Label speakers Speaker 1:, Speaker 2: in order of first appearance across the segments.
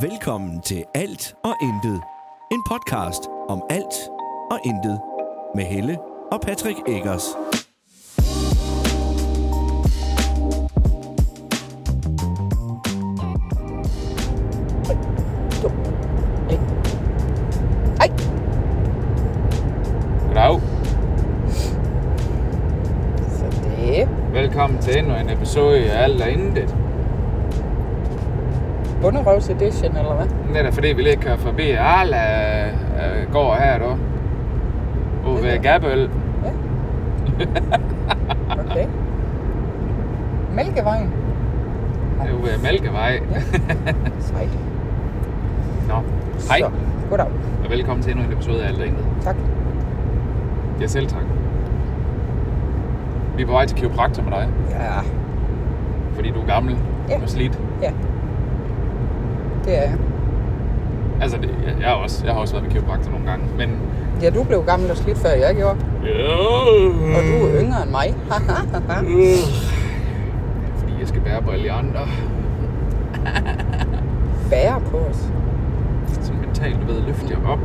Speaker 1: Velkommen til Alt og Intet. En podcast om alt og intet. Med Helle og Patrick Eggers.
Speaker 2: Goddag.
Speaker 3: Så det.
Speaker 2: Velkommen til endnu en episode af Alt og Intet.
Speaker 3: Bunderøvs edition, eller hvad?
Speaker 2: Det er da fordi, vi lige kører forbi Arla øh, går her, du. Ude ved
Speaker 3: Okay.
Speaker 2: Gabøl.
Speaker 3: Ja. Okay. Mælkevejen.
Speaker 2: Det er øh, ude ved Mælkevej.
Speaker 3: Sejt.
Speaker 2: Nå. Hej,
Speaker 3: Så, goddag.
Speaker 2: og velkommen til endnu en episode af Alt og Intet.
Speaker 3: Tak.
Speaker 2: Ja, selv tak. Vi er på vej til kiropraktor med dig,
Speaker 3: Ja,
Speaker 2: fordi du er gammel
Speaker 3: Ja.
Speaker 2: og slidt.
Speaker 3: det er jeg.
Speaker 2: Altså, det, jeg, jeg, er også, jeg har også været ved kiropraktor nogle gange, men...
Speaker 3: Ja, du blev gammel og slidt, før jeg gjorde. Og du
Speaker 2: Mm.
Speaker 3: er yngre end mig.
Speaker 2: Øh. Fordi jeg skal bære brillanter.
Speaker 3: Bærer på os.
Speaker 2: Sådan mentalt, du ved, løfte jer op.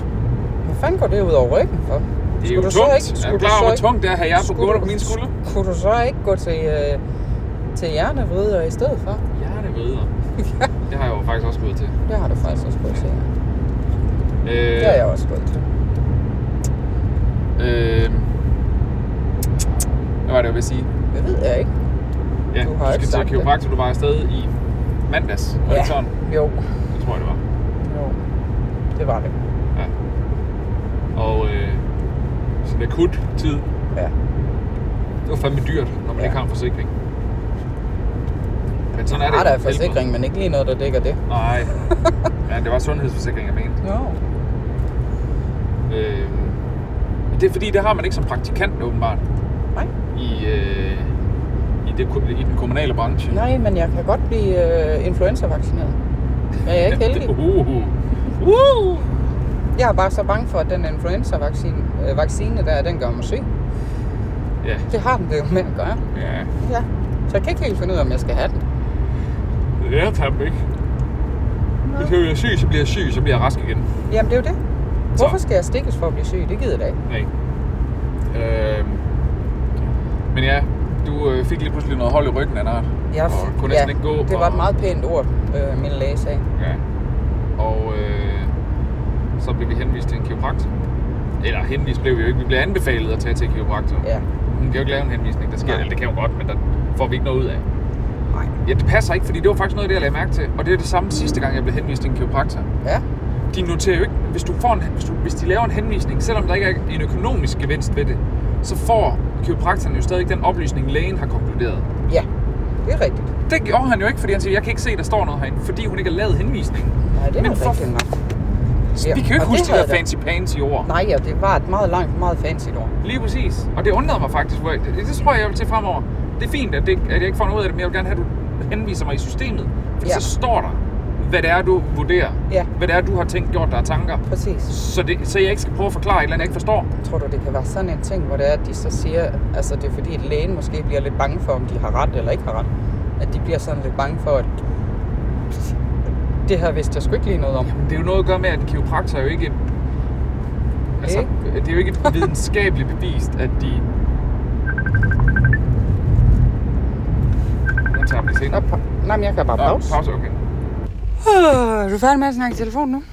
Speaker 3: Hvad fanden går det ud over ryggen for?
Speaker 2: Det er
Speaker 3: Skulle
Speaker 2: jo
Speaker 3: du så
Speaker 2: tungt.
Speaker 3: ikke-
Speaker 2: er
Speaker 3: skulle
Speaker 2: du
Speaker 3: du
Speaker 2: klar over,
Speaker 3: så
Speaker 2: hvor
Speaker 3: ikke-
Speaker 2: tungt det er at have jer på
Speaker 3: Skulle
Speaker 2: gulvet
Speaker 3: du-
Speaker 2: på mine skuldre?
Speaker 3: Kunne du så ikke gå til, øh, til hjernevrider i stedet for?
Speaker 2: Ja, det videre. Det har jeg jo faktisk også gået til.
Speaker 3: Det har du faktisk også gået til. ja.
Speaker 2: Øh,
Speaker 3: Det har jeg også gået til.
Speaker 2: Øh, hvad var det, jeg ville sige?
Speaker 3: Det ved jeg ikke.
Speaker 2: Ja,
Speaker 3: Du har
Speaker 2: du,
Speaker 3: ikke
Speaker 2: skal til
Speaker 3: sagt det.
Speaker 2: kiropraktor, du var afsted i mandags. Var det ikke sådan?
Speaker 3: Jo.
Speaker 2: Det tror jeg, det var.
Speaker 3: Jo. Det var det.
Speaker 2: Ja. Og øh, sådan akut tid.
Speaker 3: Ja.
Speaker 2: Det var fandme dyrt, når man
Speaker 3: Ja.
Speaker 2: ikke har en forsikring. Men sådan er det.
Speaker 3: Har
Speaker 2: jo.
Speaker 3: der er
Speaker 2: Helvede.
Speaker 3: forsikring, men ikke lige noget, der dækker det.
Speaker 2: Nej. Ja, det var sundhedsforsikring, jeg mente.
Speaker 3: Jo.
Speaker 2: Øh, men det er fordi, det har man ikke som praktikant åbenbart
Speaker 3: Nej.
Speaker 2: i, øh, i, det, ko- i den kommunale branche.
Speaker 3: Nej, men jeg kan godt blive øh, influenza-vaccineret. Men jeg er ikke heldig.
Speaker 2: Uh, uh. Uh.
Speaker 3: Jeg er bare så bange for, at den influenza-vaccine øh, vaccine der, den gør mig syg.
Speaker 2: Ja,
Speaker 3: Det har den det jo med at gøre.
Speaker 2: ja.
Speaker 3: Ja. Så jeg kan ikke helt finde ud af, om jeg skal have den.
Speaker 2: Det er fandme ikke. Hvis jeg bliver syg, så bliver jeg syg, så bliver jeg rask igen.
Speaker 3: Jamen, det er jo det.
Speaker 2: Så.
Speaker 3: Hvorfor skal jeg stikkes for at blive syg? Det gider jeg da ikke.
Speaker 2: Nej. Øh, men ja, du øh, fik lige pludselig noget hold i ryggen af dig.
Speaker 3: Jeg,
Speaker 2: og kunne
Speaker 3: ja,
Speaker 2: næsten ikke gå.
Speaker 3: det
Speaker 2: og,
Speaker 3: var et meget pænt ord, øh, min læge sagde.
Speaker 2: Ja. Og øh, så blev vi henvist til en kiropraktor. Eller henvist blev vi jo ikke. Vi blev anbefalet at tage til en kiropraktor.
Speaker 3: Ja.
Speaker 2: Hun kan jo ikke lave en henvisning, der sker.
Speaker 3: Nej.
Speaker 2: Eller det kan hun godt, men der får vi ikke noget ud af.
Speaker 3: Nej.
Speaker 2: Ja, det passer ikke, fordi det var faktisk noget, af det jeg lagde mærke til. Og det er det samme sidste gang, jeg blev henvist til en kiropraktor.
Speaker 3: Ja.
Speaker 2: De noterer jo ikke, hvis, du får en, hvis, du, hvis de laver en henvisning, selvom der ikke er en økonomisk gevinst ved det, så får kiropraktoren jo stadig ikke den oplysning, lægen har konkluderet.
Speaker 3: Ja. Det er rigtigt.
Speaker 2: Det gjorde han jo ikke, fordi han siger, jeg kan ikke se, der står noget herinde, fordi hun ikke har lavet henvisningen.
Speaker 3: Nej, det er
Speaker 2: Men
Speaker 3: da
Speaker 2: for-
Speaker 3: rigtigt nok.
Speaker 2: Så
Speaker 3: Ja,
Speaker 2: vi kan jo ikke
Speaker 3: og
Speaker 2: huske
Speaker 3: det
Speaker 2: de der
Speaker 3: havde jeg
Speaker 2: fancy pansy ord.
Speaker 3: Nej, og det var et meget langt, meget fancy ord.
Speaker 2: Lige præcis. Og det undrede mig faktisk. Hvor jeg, det, det tror jeg, jeg vil til fremover. Det er fint, at, det, ikke- at jeg ikke får noget ud af det, men jeg vil gerne have, at du henviser mig i systemet. For ja.
Speaker 3: Ja.
Speaker 2: så står der, hvad det er, du vurderer.
Speaker 3: Ja.
Speaker 2: Hvad det er, du har tænkt, gjort dig af tanker.
Speaker 3: Præcis.
Speaker 2: Så, det, så jeg ikke skal prøve at forklare et eller andet, jeg ikke forstår.
Speaker 3: Tror du, det kan være sådan en ting, hvor det er, at de så siger, altså det er fordi, at lægen måske bliver lidt bange for, om de har ret eller ikke har ret. At de bliver sådan lidt bange for, at det her vidste jeg sgu ikke lige noget om.
Speaker 2: Jamen, det er jo noget at gøre med, at en kiropraktor er jo ikke... Altså, det er jo ikke videnskabeligt bevist, at de... Jeg tager mig
Speaker 3: Nå,
Speaker 2: senere.
Speaker 3: pa- nej, men jeg kan bare
Speaker 2: Nå,
Speaker 3: pause.
Speaker 2: Pause, okay.
Speaker 3: Øh, er du færdig med at snakke i telefon nu?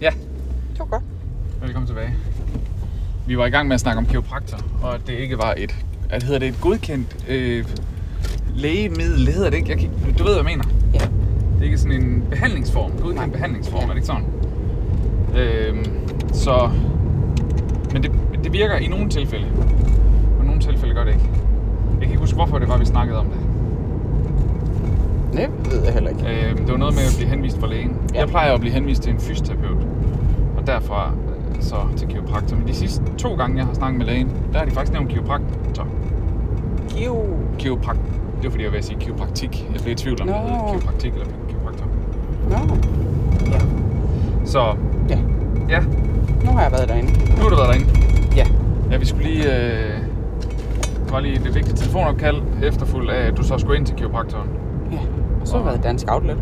Speaker 2: Ja.
Speaker 3: Det var godt.
Speaker 2: Velkommen tilbage. Vi var i gang med at snakke om kiropraktor, og at det ikke var et, at hedder det et godkendt øh, lægemiddel, det hedder det ikke, jeg kan ikke, du ved, hvad jeg mener.
Speaker 3: Ja.
Speaker 2: Det er ikke sådan en behandlingsform, godkendt
Speaker 3: Nej.
Speaker 2: behandlingsform,
Speaker 3: Ja.
Speaker 2: er det ikke sådan? Øhm, så, men det, det virker i nogle tilfælde, og i nogle tilfælde gør det ikke. Jeg kan ikke huske, hvorfor det var, vi snakkede om det.
Speaker 3: Det ved jeg heller ikke.
Speaker 2: Øhm, det var noget med at blive henvist fra lægen. Ja.
Speaker 3: Ja.
Speaker 2: Jeg plejer jo at blive henvist til en fysioterapeut, og derfra øh, så til kiropraktor. Men de sidste to gange, jeg har snakket med lægen, der har de faktisk nævnt kiropraktor.
Speaker 3: Kiu.
Speaker 2: Kiroprak... Det var fordi, jeg var ved at sige kiropraktik. Jeg blev i tvivl om, no. det
Speaker 3: Nå.
Speaker 2: hedder kiropraktik eller kiropraktor.
Speaker 3: Nå. Ja.
Speaker 2: Så
Speaker 3: ja.
Speaker 2: ja,
Speaker 3: Nu har jeg været derinde.
Speaker 2: nu har du været derinde.
Speaker 3: Ja.
Speaker 2: Ja, vi skulle lige... Øh, det var lige et vigtigt telefonopkald, efterfuldt af, at du så skulle ind til kiropraktoren.
Speaker 3: Ja. Og så har jeg været i Dansk Outlet.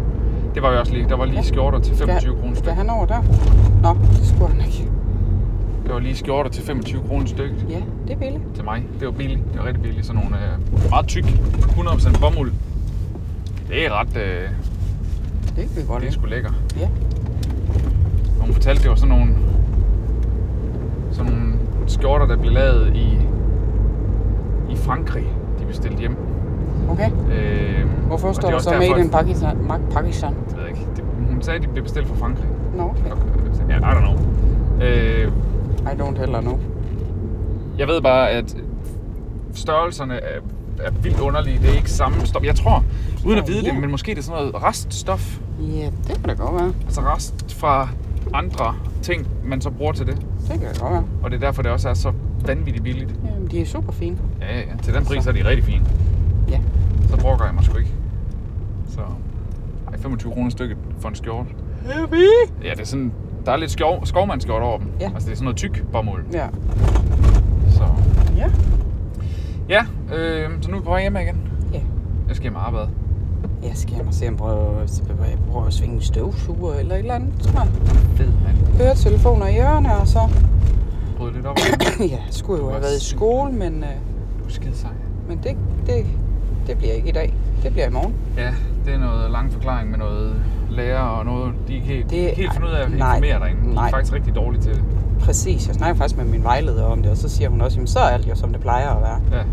Speaker 2: Det var jo også lige, der var lige skjorter til 25 kroner
Speaker 3: Skal
Speaker 2: stykket.
Speaker 3: han over der? Nå, det skulle han ikke.
Speaker 2: Der var lige skjorter til 25 kroner stykket
Speaker 3: Ja, det er billigt.
Speaker 2: til mig. Det var billigt. Det var rigtig billigt. Sådan nogle øh, meget tyk, 100% bomuld. Det er ret, øh,
Speaker 3: Det kan vi godt
Speaker 2: det er
Speaker 3: lide.
Speaker 2: sgu lækker.
Speaker 3: Ja.
Speaker 2: Og hun fortalte, det var sådan nogle, sådan nogle skjorter, der blev lavet i, i Frankrig. De bestilte hjem.
Speaker 3: Okay.
Speaker 2: Øh,
Speaker 3: Hvorfor
Speaker 2: og
Speaker 3: står
Speaker 2: det er
Speaker 3: der
Speaker 2: også
Speaker 3: så made in
Speaker 2: derfor-
Speaker 3: Pakistan? Mark Pakistan.
Speaker 2: Det ved jeg ikke. Det, hun sagde, at de blev bestilt fra Frankrig.
Speaker 3: Nå, okay.
Speaker 2: Ja, I don't know. Øh,
Speaker 3: I don't heller know.
Speaker 2: jeg ved bare, at størrelserne er, er vildt underlige. Det er ikke samme stof. Jeg tror, uden at
Speaker 3: Åh,
Speaker 2: vide
Speaker 3: ja.
Speaker 2: det, men måske det er sådan noget reststof.
Speaker 3: Ja, det kan da godt være.
Speaker 2: Altså rest fra andre ting, man så bruger til det.
Speaker 3: Det kan da godt være.
Speaker 2: Og det er derfor, det også er så vanvittigt billigt.
Speaker 3: Jamen, de er super fine.
Speaker 2: Ja, ja. Til den pris er de rigtig fine.
Speaker 3: Ja.
Speaker 2: Så brokker jeg mig sgu ikke. Så... Ej, 25 kroner stykket for en skjorte. Ja, det er sådan... Der er lidt skov, skovmandskjort over dem.
Speaker 3: Ja.
Speaker 2: Altså, det er sådan noget tyk bomuld.
Speaker 3: Ja.
Speaker 2: Så...
Speaker 3: Ja.
Speaker 2: Ja, øh, så nu er vi på vej hjem igen.
Speaker 3: Ja.
Speaker 2: Jeg skal hjem og arbejde.
Speaker 3: Jeg skal hjem og se, om jeg prøver, jeg prøver at svinge en støvsuger eller et eller andet, tror jeg.
Speaker 2: Fed, mand.
Speaker 3: Høretelefoner i ørerne, og så...
Speaker 2: Brød lidt op.
Speaker 3: ja, jeg skulle jo
Speaker 2: var
Speaker 3: have været i
Speaker 2: sindssygt.
Speaker 3: skole, men, øh,
Speaker 2: Du er skide sej.
Speaker 3: men det, det, det bliver ikke i dag. Det bliver i morgen.
Speaker 2: Ja, det er noget lang forklaring med noget lærer og noget. De er ikke helt,
Speaker 3: Det-
Speaker 2: det, helt finde ud af at
Speaker 3: nej,
Speaker 2: informere derinde. De
Speaker 3: nej.
Speaker 2: er faktisk rigtig dårlige til det.
Speaker 3: Præcis, jeg snakker faktisk med min vejleder om det, og så siger hun også, at så er alt jo, som det plejer at være.
Speaker 2: Ja.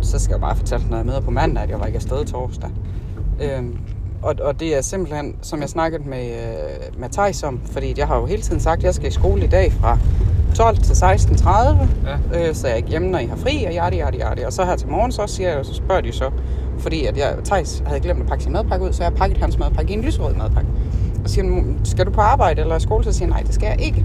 Speaker 3: Så skal jeg bare fortælle noget med på mandag, at jeg var ikke afsted torsdag. Øhm, og, og det er simpelthen, som jeg snakkede med, øh, med Thijs om, fordi jeg har jo hele tiden sagt, at jeg skal i skole i dag fra 12 til 16.30.
Speaker 2: Ja.
Speaker 3: øh, så jeg er ikke hjemme, når I har fri, og yadi, yadi, yadi. Og så her til morgen, så, siger jeg, så spørger de så, fordi at jeg, Thijs havde glemt at pakke sin madpakke ud, så jeg har pakket hans madpakke i en lyserød madpakke. Og siger, han, "Mm, skal du på arbejde eller i skole? Så siger jeg, nej, det skal jeg ikke.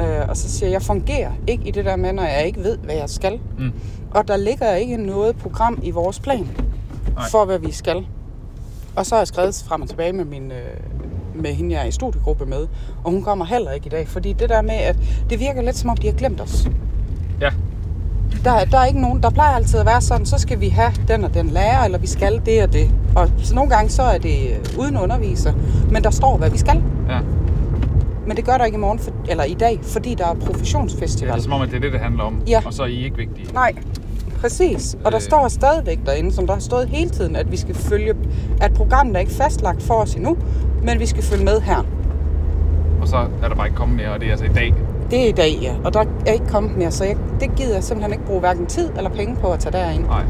Speaker 3: Øh, og så siger jeg, jeg fungerer ikke i det der med, når jeg ikke ved, hvad jeg skal.
Speaker 2: Mm.
Speaker 3: Og der ligger ikke noget program i vores plan
Speaker 2: Nej.
Speaker 3: for, hvad vi skal. Og så har jeg skrevet frem og tilbage med, min, øh, med hende, jeg er i studiegruppe med. Og hun kommer heller ikke i dag, fordi det der med, at det virker lidt som om, de har glemt os.
Speaker 2: Ja.
Speaker 3: Der, der er ikke nogen, der plejer altid at være sådan, så skal vi have den og den lærer, eller vi skal det og det. Og så nogle gange så er det øh, uden underviser, men der står, hvad vi skal.
Speaker 2: Ja.
Speaker 3: Men det gør der ikke i morgen, for, eller i dag, fordi der er
Speaker 2: ja. Det er
Speaker 3: professionsfestival.
Speaker 2: som om, at det er det, det handler om.
Speaker 3: Ja.
Speaker 2: Og så er I ikke vigtige.
Speaker 3: Nej, præcis. Og der
Speaker 2: Øh.
Speaker 3: står stadigvæk derinde, som der har stået hele tiden, at vi skal følge, at programmet er ikke fastlagt for os endnu, men vi skal følge med her.
Speaker 2: Og så er der bare ikke kommet mere, og det er altså i dag.
Speaker 3: Det er i dag, ja. Og der er ikke kommet mere, så jeg, det gider jeg simpelthen ikke bruge hverken tid eller penge på at tage derind.
Speaker 2: Nej.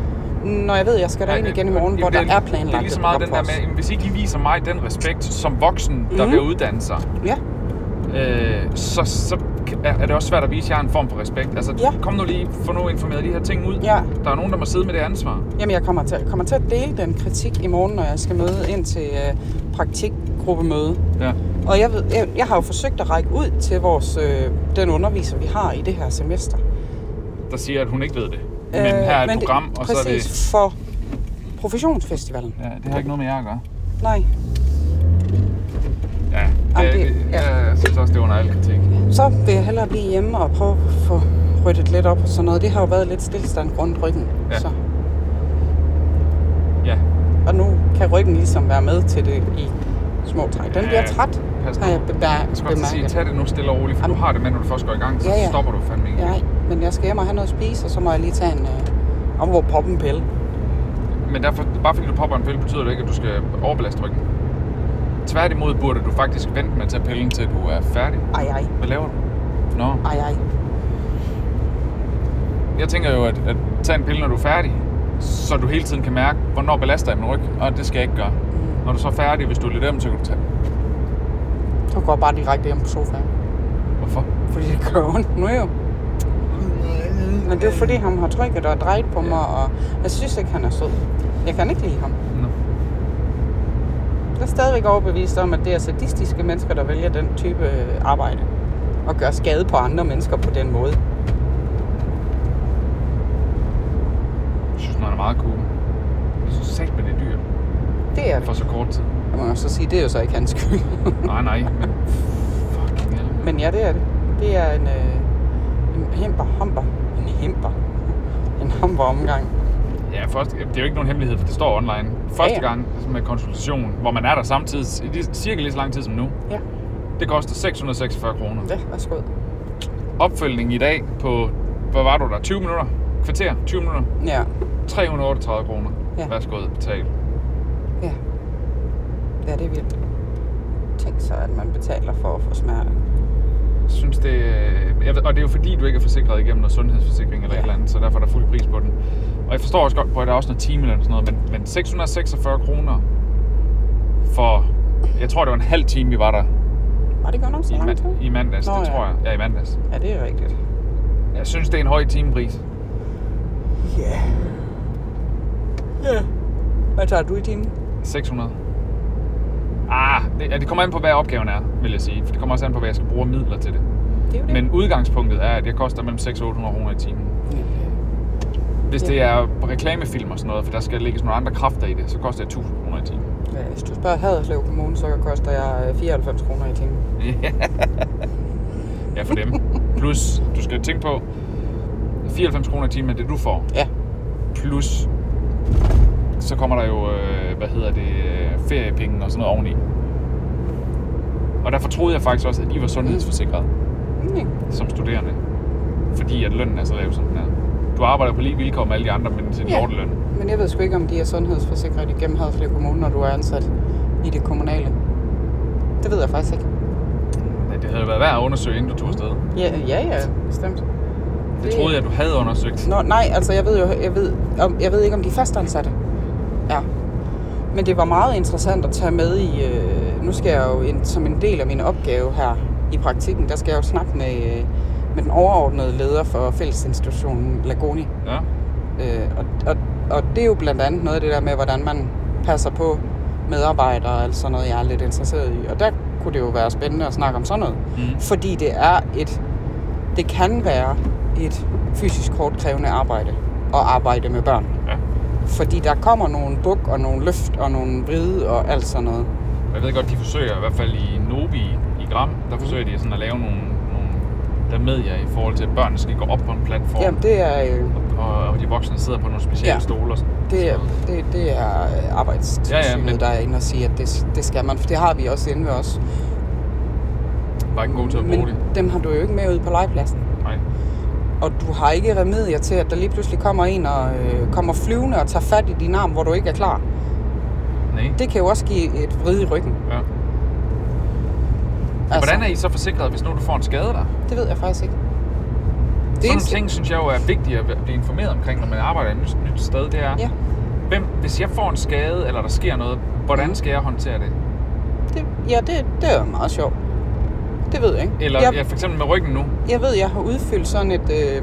Speaker 3: Når jeg ved, jeg skal derind
Speaker 2: Nej,
Speaker 3: igen i
Speaker 2: og
Speaker 3: morgen,
Speaker 2: det-
Speaker 3: hvor der
Speaker 2: det
Speaker 3: er planlagt
Speaker 2: Det er lige så meget
Speaker 3: et
Speaker 2: den der
Speaker 3: program
Speaker 2: med,
Speaker 3: for
Speaker 2: jamen, hvis ikke I viser mig den respekt som voksen, der
Speaker 3: Mhm.
Speaker 2: vil uddanne sig,
Speaker 3: os. Ja,
Speaker 2: øh, så, så er er det også svært at vise jer en form for respekt. Altså,
Speaker 3: Ja.
Speaker 2: kom nu lige, få nu informeret de her ting ud.
Speaker 3: Ja.
Speaker 2: Der er nogen, der må sidde med det ansvar.
Speaker 3: jamen jeg kommer til, jeg kommer til at dele den kritik i morgen, når jeg skal møde ind til øh, praktikgruppemøde.
Speaker 2: Ja.
Speaker 3: Og jeg, ved, jeg, jeg har jo forsøgt at række ud til vores, øh, den underviser, vi har i det her semester.
Speaker 2: Der siger, at hun ikke ved det. Men her er et program, og så
Speaker 3: præcis,
Speaker 2: er det...
Speaker 3: Øh, Præcis, for professionsfestivalen.
Speaker 2: Ja, det har ikke noget med jer at gøre.
Speaker 3: Nej.
Speaker 2: Ja,
Speaker 3: Jamen, det-
Speaker 2: det,
Speaker 3: ja.
Speaker 2: ja. jeg synes også, det er under al kritik.
Speaker 3: Så vil jeg hellere blive hjemme og prøve at få ryddet lidt op og sådan noget. Det har jo været lidt stillestand rundt ryggen.
Speaker 2: Ja.
Speaker 3: Så.
Speaker 2: Ja,
Speaker 3: Og nu kan ryggen ligesom være med til det i små træk. Den
Speaker 2: Ja,
Speaker 3: bliver træt,
Speaker 2: pas
Speaker 3: har
Speaker 2: nu.
Speaker 3: jeg bemær-
Speaker 2: jeg skal også sige,
Speaker 3: bemærket.
Speaker 2: tag det nu stille og roligt, for du har det med, når du først går i gang, så
Speaker 3: Ja, ja.
Speaker 2: stopper du fandme ikke.
Speaker 3: Nej, men jeg skal hjem og have noget at spise, og så må jeg lige tage en... Øh, om hvor poppen pille.
Speaker 2: Men derfor, bare fordi du popper en pille, betyder det ikke, at du skal overbelaste ryggen. Tværtimod burde du faktisk vente med at tage pillen, til du er færdig.
Speaker 3: Ej, ej,
Speaker 2: Hvad laver du? Nå,
Speaker 3: ej, ej.
Speaker 2: jeg tænker jo, at, at tage en pille, når du er færdig, så du hele tiden kan mærke, hvornår belaster jeg min ryg, og det skal jeg ikke gøre.
Speaker 3: Mm.
Speaker 2: Når du så er færdig, hvis du er lidt øm, så kan du tage.
Speaker 3: Du går bare direkte hjem på sofaen.
Speaker 2: Hvorfor?
Speaker 3: Fordi det gør ondt nu jo. Men det er jo fordi, han har trykket og drejet på mig, og jeg synes ikke, han er sød. Jeg kan ikke lide ham.
Speaker 2: Nå.
Speaker 3: Jeg er stadigvæk overbevist om, at det er sadistiske mennesker, der vælger den type øh, arbejde. Og gør skade på andre mennesker på den måde.
Speaker 2: Jeg synes, den er meget cool. Jeg synes sagt med det er dyrt
Speaker 3: Det er
Speaker 2: for
Speaker 3: det.
Speaker 2: så kort tid.
Speaker 3: Jeg må jo så sige, det er jo så ikke hans skyld.
Speaker 2: Nej, nej, men fucking hell.
Speaker 3: Men ja, det er det. Det er en, øh, en hemper, humper. En hemper. En humper omgang.
Speaker 2: Ja, første, det er jo ikke nogen hemmelighed, for det står online. Første
Speaker 3: Ja, ja.
Speaker 2: gang altså med konsultation, hvor man er der samtidig, i lige- cirka lige så lang tid som nu,
Speaker 3: Ja,
Speaker 2: det koster 646 kroner.
Speaker 3: ja værsgo.
Speaker 2: Opfølgning i dag på, hvad var du der, 20 minutter? Kvarter, 20 minutter,
Speaker 3: Ja,
Speaker 2: 338 kroner.
Speaker 3: Ja.
Speaker 2: Ja. Værsgo at betale.
Speaker 3: ja. Ja, det er vildt. Tænk så, at man betaler for at få smerte.
Speaker 2: Jeg synes det, øh, jeg ved, og det er jo fordi, du ikke er forsikret igennem noget sundhedsforsikring eller
Speaker 3: Ja.
Speaker 2: et eller andet, så derfor er der fuld pris på den. Og jeg forstår også godt på, at der er også noget timeløn og sådan noget, men, men 646 kroner for, jeg tror det var en halv time, vi var der
Speaker 3: Var det godt nok så
Speaker 2: i,
Speaker 3: lang tid?
Speaker 2: ma- i mandags,
Speaker 3: Nå,
Speaker 2: det
Speaker 3: ja.
Speaker 2: tror jeg. Ja, i mandags.
Speaker 3: Ja, det er rigtigt.
Speaker 2: Jeg synes, det er en høj timepris.
Speaker 3: Ja. Ja. Hvad tager du i timen?
Speaker 2: 600. Ah, det, ja, det kommer an på, hvad opgaven er, vil jeg sige. For det kommer også an på, hvad jeg skal bruge af midler til det.
Speaker 3: Det er jo det.
Speaker 2: Men udgangspunktet er, at jeg koster mellem 600 og 800 kroner i timen. Hvis det er reklamefilm og sådan noget, for der skal lægges nogle andre kræfter i det, så koster det 1000 kroner i timen.
Speaker 3: Ja, hvis du spørger Haderslev Kommune, så koster jeg øh, 94 kroner i timen.
Speaker 2: Ja, for dem. Plus, du skal tænke på, 94 kroner i timen er det, du får.
Speaker 3: Ja.
Speaker 2: Plus, så kommer der jo, øh, hvad hedder det, øh, feriepenge og sådan noget oveni. Og derfor troede jeg faktisk også, at I var sundhedsforsikret
Speaker 3: Mm.
Speaker 2: som studerende. Fordi at lønnen er så lav, som den er. Du arbejder på lige vilkår med alle de andre, men til en
Speaker 3: Ja.
Speaker 2: ja. løn.
Speaker 3: Men jeg ved sgu ikke, om de er sundhedsforsikret igennem Haderslev Kommune, når du er ansat i det kommunale. Det ved jeg faktisk ikke.
Speaker 2: Ja, det havde været værd at undersøge, inden du tog afsted.
Speaker 3: Ja, ja, ja bestemt.
Speaker 2: Det troede jeg, du havde undersøgt.
Speaker 3: Nå, nej, altså jeg ved jo, jeg ved, om, jeg ved ikke, om de er fastansatte. Ja. Men det var meget interessant at tage med i, øh, nu skal jeg jo en, som en del af min opgave her i praktikken, der skal jeg jo snakke med, øh, med den overordnede leder for fællesinstitutionen Lagoni.
Speaker 2: Ja.
Speaker 3: Øh, og, og, og det er jo blandt andet noget af det der med, hvordan man passer på medarbejdere og alt sådan noget, jeg er lidt interesseret i. Og der kunne det jo være spændende at snakke om sådan noget.
Speaker 2: Mhm.
Speaker 3: Fordi det er et, det kan være et fysisk hårdt krævende arbejde at arbejde med børn.
Speaker 2: Ja.
Speaker 3: Fordi der kommer nogle buk og nogle løft og nogle vride og alt sådan noget.
Speaker 2: Jeg ved godt, de forsøger, i hvert fald i Nobi i Gram,
Speaker 3: Mhm.
Speaker 2: der forsøger de sådan at lave nogle, nogle der medier i forhold til, at børnene skal gå op på en platform,
Speaker 3: Jamen det er, øh,
Speaker 2: og, og de voksne sidder på nogle specielle
Speaker 3: Ja.
Speaker 2: ja. stoler. og sådan-
Speaker 3: det, er,
Speaker 2: sådan noget.
Speaker 3: det, det er øh, arbejdstilsynet,
Speaker 2: Ja, ja, men-
Speaker 3: der er inde og siger, at det, det skal man. For det har vi også inde ved os.
Speaker 2: Bare ikke god til at bruge
Speaker 3: Men
Speaker 2: det.
Speaker 3: dem har du jo ikke med ud på legepladsen.
Speaker 2: Nej.
Speaker 3: og du har ikke remedier til, at der lige pludselig kommer en og øh, kommer flyvende og tager fat i din arm, hvor du ikke er klar.
Speaker 2: Nej.
Speaker 3: Det kan jo også give et vrid i ryggen.
Speaker 2: Ja. Hvordan er I så forsikret, hvis nu du får en skade der?
Speaker 3: Altså- Det ved jeg faktisk ikke.
Speaker 2: Sådan nogle
Speaker 3: eneste-
Speaker 2: ting, synes jeg jo er vigtigt at blive informeret omkring, når man arbejder et nyt, nyt sted, det er,
Speaker 3: Ja,
Speaker 2: hvem, hvis jeg får en skade, eller der sker noget,
Speaker 3: Mhm.
Speaker 2: hvordan skal jeg håndtere det?
Speaker 3: det, ja det, det er jo meget sjovt. Det ved jeg ikke.
Speaker 2: Eller
Speaker 3: jeg,
Speaker 2: ja. for eksempel med ryggen nu.
Speaker 3: jeg ved, jeg har udfyldt sådan et... Øh,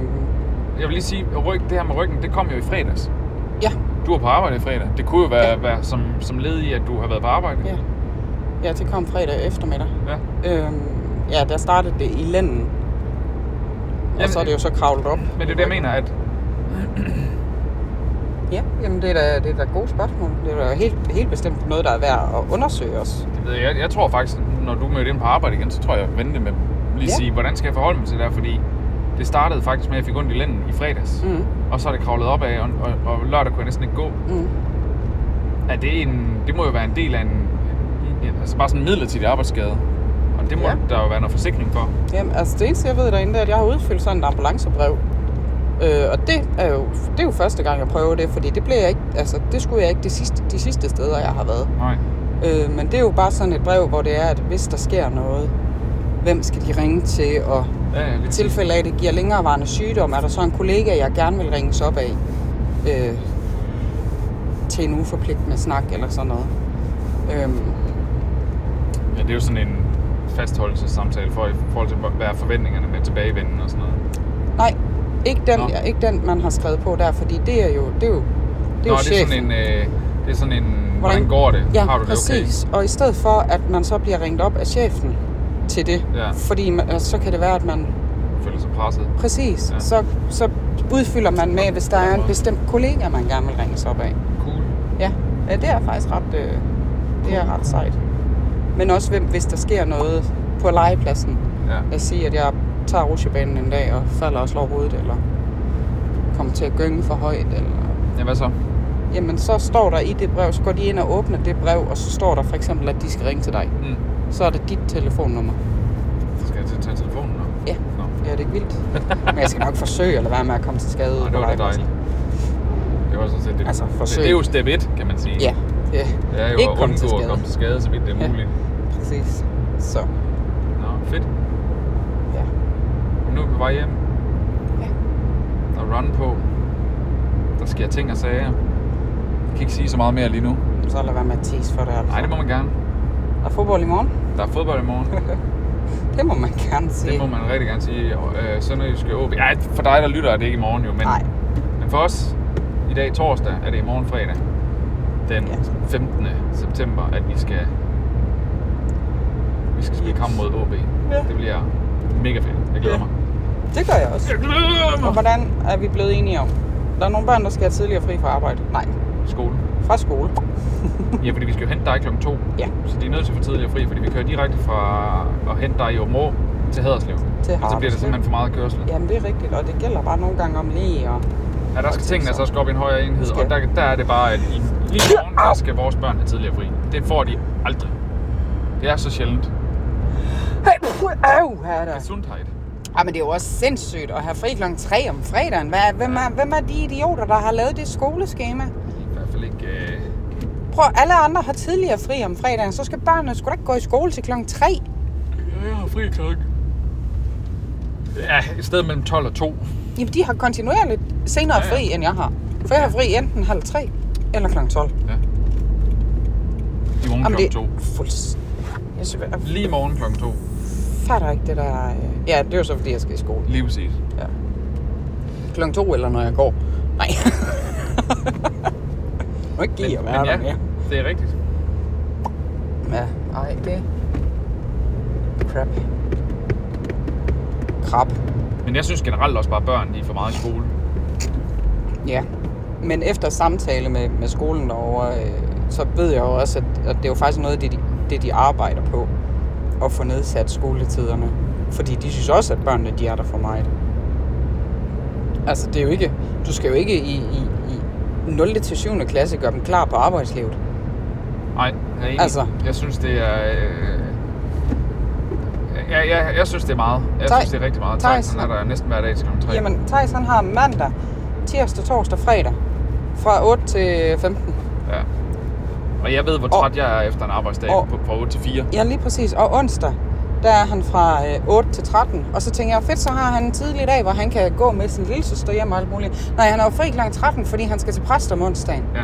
Speaker 2: Jeg vil lige sige, at ryg, det her med ryggen, det kom jo i fredags.
Speaker 3: ja,
Speaker 2: Du var på arbejde i fredag. Det kunne jo være,
Speaker 3: Ja.
Speaker 2: ja. være som, som led i, at du har været på arbejde.
Speaker 3: ja. ja, det kom fredag eftermiddag.
Speaker 2: ja.
Speaker 3: Øh, ja, der startede det i lænden. Og
Speaker 2: Jamen,
Speaker 3: så er det jo så kravlet op.
Speaker 2: Men det er det, jeg mener, at
Speaker 3: Ja, jamen det er da, det er da gode spørgsmål. Det er da helt, helt bestemt noget, der er værd at undersøge os.
Speaker 2: det ved jeg, jeg tror faktisk, når du mødte ind på arbejde igen, så tror jeg, jeg vente med lige
Speaker 3: Ja.
Speaker 2: ja. sige, hvordan skal jeg forholde mig til det her, fordi det startede faktisk med, at jeg fik ondt i lænden i fredags,
Speaker 3: Mhm.
Speaker 2: og så er det kravlet op af, og, og, og lørdag kunne jeg næsten ikke gå.
Speaker 3: Mm.
Speaker 2: Er det, en, det må jo være en del af en, en altså bare sådan en midlertidig arbejdsskade, og det må
Speaker 3: Ja.
Speaker 2: ja. der jo være noget forsikring for.
Speaker 3: Jamen, altså det eneste, jeg ved derinde, det er, at jeg har udfyldt sådan et ambulancebrev. Øh, og det er, jo, det er jo første gang, jeg prøver det, fordi det, blev jeg ikke, altså, det skulle jeg ikke de sidste, de sidste steder, jeg har været.
Speaker 2: Nej.
Speaker 3: Øh, men det er jo bare sådan et brev, hvor det er, at hvis der sker noget, hvem skal de ringe til, og
Speaker 2: Ja, ja,
Speaker 3: i
Speaker 2: lige
Speaker 3: tilfælde af, at det giver længerevarende sygdom, er der så en kollega, jeg gerne vil ringes op af øh, til en uforpligtende snak eller sådan noget. Øhm,
Speaker 2: præcis. ja, det er jo sådan en fastholdelsessamtale for, i forhold til, hvad er forventningerne med tilbagevenden og sådan noget.
Speaker 3: nej, ikke den,
Speaker 2: Nå.
Speaker 3: ja, ikke den, man har skrevet på der, fordi det er jo, det er jo, det er
Speaker 2: Nå,
Speaker 3: jo
Speaker 2: det er
Speaker 3: chefen.
Speaker 2: sådan en, øh, det er sådan en hvordan, går det?
Speaker 3: Ja,
Speaker 2: har du det
Speaker 3: præcis. Okay? Og i stedet for, at man så bliver ringet op af chefen til det,
Speaker 2: Ja.
Speaker 3: fordi man, altså, så kan det være, at man
Speaker 2: okay? Føler sig presset?
Speaker 3: præcis, ja.
Speaker 2: Ja.
Speaker 3: så, så udfylder man med, hvis der er en
Speaker 2: måde.
Speaker 3: bestemt kollega, man gerne vil ringes op af.
Speaker 2: Cool.
Speaker 3: Ja, ja det er faktisk ret, øh, det er ret sejt. Men også, hvem, hvis der sker noget på legepladsen.
Speaker 2: Ja.
Speaker 3: Lad os sige, at jeg tager rutsjebanen en dag og falder og slår hovedet, eller kommer til at gynge for højt, eller
Speaker 2: Ja, hvad så?
Speaker 3: Jamen, så står der i det brev, så går de ind og åbner det brev, og så står der for eksempel, at de skal ringe til dig.
Speaker 2: Mm.
Speaker 3: Så er det dit telefonnummer.
Speaker 2: Så skal jeg til at tage telefonen nu.
Speaker 3: Ja.
Speaker 2: Nå.
Speaker 3: Ja, det er ikke vildt. Men jeg skal nok forsøge at lade være med at komme til skade. på
Speaker 2: Nå, det var da
Speaker 3: legepladsen.
Speaker 2: dejligt. Det var sådan set det.
Speaker 3: Altså,
Speaker 2: det,
Speaker 3: forsøg.
Speaker 2: det er jo step 1, kan man sige.
Speaker 3: Ja, ja,
Speaker 2: Det er jo
Speaker 3: Ikke
Speaker 2: at
Speaker 3: komme til
Speaker 2: undgå at
Speaker 3: skade.
Speaker 2: komme til skade, så vidt det er
Speaker 3: Ja.
Speaker 2: muligt.
Speaker 3: præcis. Så,
Speaker 2: Nå, fedt.
Speaker 3: ja.
Speaker 2: Og nu er vi på vej hjem.
Speaker 3: Ja.
Speaker 2: Der er run på. Der sker ting og sager. Jeg kan ikke sige så meget mere lige nu.
Speaker 3: Så lad være med at tease for det. Altså.
Speaker 2: Nej, det må man gerne.
Speaker 3: Der er fodbold i morgen.
Speaker 2: Der er fodbold i morgen.
Speaker 3: Det må man gerne sige.
Speaker 2: Det må man rigtig gerne sige. Og, Øh, Sønderjyske OB. Ej, for dig, der lytter, er det ikke i morgen jo. Men,
Speaker 3: Nej.
Speaker 2: men for os, i dag torsdag, er det i morgen fredag. Den
Speaker 3: Ja.
Speaker 2: 15. september, at vi skal vi skal spille kamp mod OB.
Speaker 3: Ja.
Speaker 2: Det bliver mega fedt. Jeg glæder
Speaker 3: Ja.
Speaker 2: mig.
Speaker 3: Det gør jeg også.
Speaker 2: Jeg glæder
Speaker 3: Og
Speaker 2: mig!
Speaker 3: hvordan er vi blevet enige om? Der er nogle børn, der skal have tidligere fri fra arbejde. Nej,
Speaker 2: Skole.
Speaker 3: fra skole.
Speaker 2: Ja, fordi vi skal jo hente dig klokken 2.
Speaker 3: Ja,
Speaker 2: Så de er nødt til at få tidligere fri, fordi vi kører direkte fra at hente dig i Åbenrå til Haderslev.
Speaker 3: til
Speaker 2: Og så bliver det simpelthen for meget kørsel. Ja.
Speaker 3: Jamen, det er rigtigt, og det gælder bare nogle gange om lige. Og...
Speaker 2: ja der skal tingene så skal op i en højere enhed,
Speaker 3: Skal.
Speaker 2: og der, der er det bare, at i, lige i morgen, der skal vores børn have tidligere fri. Det får de aldrig. Det er så sjældent.
Speaker 3: Hey, øh, her der.
Speaker 2: Gesundheit.
Speaker 3: Ej, Ah, men det er jo også sindssygt at have fri kl. 3 om fredagen. Hvad, hvem, er, hvem er de idioter, der har lavet det skoleskema?
Speaker 2: I hvert fald ikke... Øh...
Speaker 3: Prøv, alle andre har tidligere fri om fredagen, så skal børnene sgu da ikke gå i skole til kl. 3.
Speaker 2: Jeg har fri klokken. Ja, et sted mellem 12 og 2.
Speaker 3: Jamen, de har kontinuerligt senere
Speaker 2: Ja, ja.
Speaker 3: fri, end jeg har. For jeg har fri enten halv 3 eller kl. 12.
Speaker 2: Ja. I
Speaker 3: Jamen,
Speaker 2: morgen klokken
Speaker 3: det
Speaker 2: 2.
Speaker 3: er fulds... Jeg, synes, jeg
Speaker 2: Lige i morgen klokken 2.
Speaker 3: fatter ikke det der... øh. Ja, det er jo så, fordi jeg skal i skole.
Speaker 2: Lige præcis.
Speaker 3: Ja. Klokken to eller når jeg går. Nej. Må ikke give at være der mere.
Speaker 2: det er rigtigt.
Speaker 3: Ja, ej, det... Crap. Krab.
Speaker 2: Men jeg synes generelt også bare, at børn de er for meget i skole.
Speaker 3: Ja. Men efter samtale med, med skolen derovre, øh, så ved jeg jo også, at, at det er jo faktisk noget, det de, det de arbejder på. At få nedsat skoletiderne. Fordi de synes også, at børnene de er der for meget. Altså, det er jo ikke... Du skal jo ikke i, i, i 0. til 7. klasse gøre dem klar på arbejdslivet.
Speaker 2: Nej, jeg, er enig.
Speaker 3: Altså.
Speaker 2: jeg synes, det er... Øh... Jeg, jeg, jeg synes, det er meget. Jeg
Speaker 3: Tej-
Speaker 2: synes, det er rigtig meget.
Speaker 3: Thijs,
Speaker 2: Tak, sådan er
Speaker 3: han-
Speaker 2: der næsten hver dag til kl. 3.
Speaker 3: Jamen, Thijs han har mandag, tirsdag, torsdag, fredag. Fra 8 til 15.
Speaker 2: Ja. Og jeg ved, hvor
Speaker 3: Og-
Speaker 2: træt jeg er efter en arbejdsdag
Speaker 3: og-
Speaker 2: på, på 8 til 4.
Speaker 3: Ja, lige præcis. Og onsdag, der er han fra øh, 8 til 13. Og så tænker jeg, fedt, så har han en tidlig dag, hvor han kan gå med sin lille søster hjem og alt muligt. Nej, han er jo fri kl. 13, fordi han skal til præst om onsdagen.
Speaker 2: Ja.